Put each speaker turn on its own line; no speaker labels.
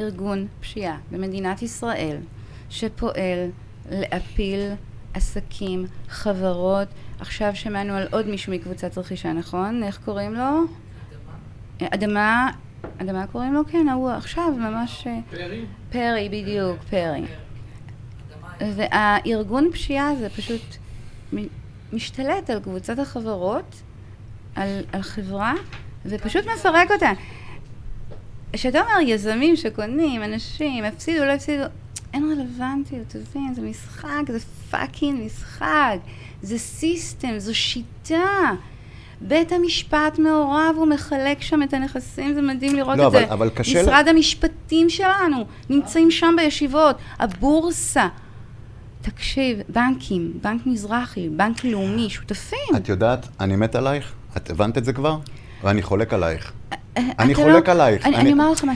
ארגון פשיעה במדינת ישראל שפועל להפיל עסקים, חברות, עכשיו שמענו על עוד מישהו מקבוצת רכישה, נכון? איך קוראים לו? אדמה, אדמה קוראים לו? כן, ההוא עכשיו ממש... אה,
פרי?
פרי, בדיוק, פרי. והארגון פשיעה הזה פשוט מ- משתלט על קבוצת החברות, על, על חברה, ופשוט מפרק אותה. כשאתה אומר יזמים שקונים, אנשים, הפסידו, לא הפסידו, אין רלוונטיות, תבין, זה משחק, זה פאקינג משחק, זה סיסטם, זו שיטה. בית המשפט מעורב, הוא מחלק שם את הנכסים, זה מדהים לראות
לא,
את
אבל-
זה.
אבל קשה ל-
משרד המשפטים שלנו נמצאים שם בישיבות, הבורסה. תקשיב, בנקים, בנק מזרחי, בנק לאומי, שותפים.
את יודעת, אני מת עלייך, את הבנת את זה כבר? ואני חולק עלייך.
אה,
אני
אתה
חולק
לא-
עלייך.
אני-
אני-
אני אומר לך משהו.